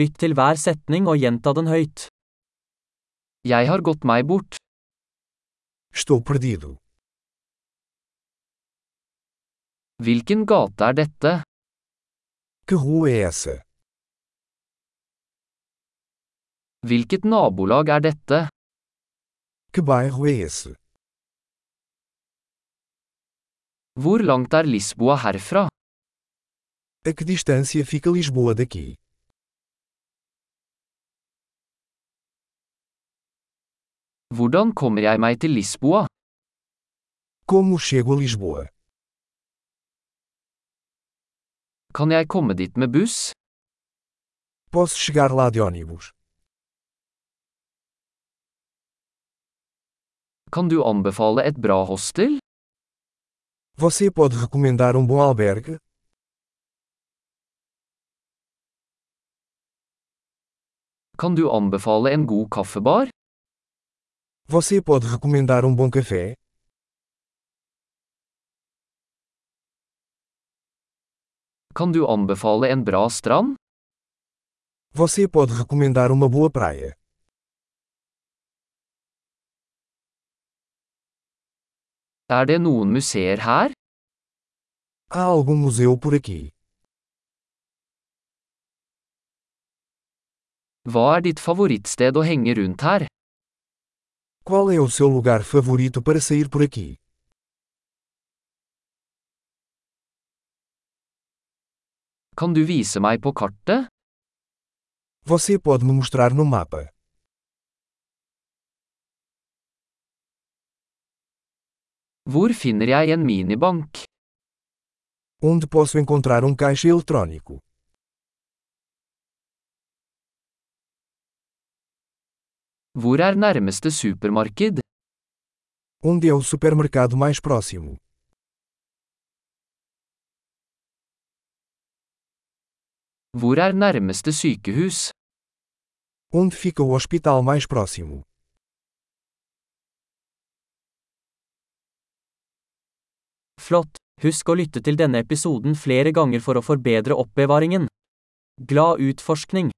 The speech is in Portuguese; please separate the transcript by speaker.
Speaker 1: Lytt til hver setning og gjenta den høyt. Jeg har gått meg bort.
Speaker 2: Estou perdido.
Speaker 1: Hvilken gate er dette?
Speaker 2: Que rua é essa?
Speaker 1: Hvilket nabolag er dette?
Speaker 2: Que bairro é esse?
Speaker 1: Hvor langt er Lisboa herfra?
Speaker 2: A que distância fica Lisboa daqui?
Speaker 1: Hvordan kommer jeg meg til Lisboa?
Speaker 2: Como chego a Lisboa?
Speaker 1: Kan jeg komme dit med buss?
Speaker 2: Posso chegar lá de ônibus?
Speaker 1: Kan du anbefale et bra hostel?
Speaker 2: Você pode recomendar um bom albergue?
Speaker 1: Kan du anbefale en god kaffebar?
Speaker 2: Você pode recomendar um bom café?
Speaker 1: Kan du anbefale en bra strand?
Speaker 2: Você pode recomendar uma boa praia?
Speaker 1: Er det noen museer her?
Speaker 2: Há algum museu por aqui?
Speaker 1: Hva er ditt favorittsted å henge rundt her?
Speaker 2: Qual é o seu lugar favorito para sair por aqui?
Speaker 1: Kan du vise meg på kartet?
Speaker 2: Você pode me mostrar no mapa.
Speaker 1: Hvor finner jeg en minibank?
Speaker 2: Onde posso encontrar um caixa eletrônico?
Speaker 1: Hvor er nærmeste supermarked?
Speaker 2: Onde é o supermercado mais próximo?
Speaker 1: Hvor er nærmeste sykehus?
Speaker 2: Onde fica o hospital mais próximo?
Speaker 1: Flott! Husk å lytte til denne episoden flere ganger for å forbedre oppbevaringen. Glad utforskning!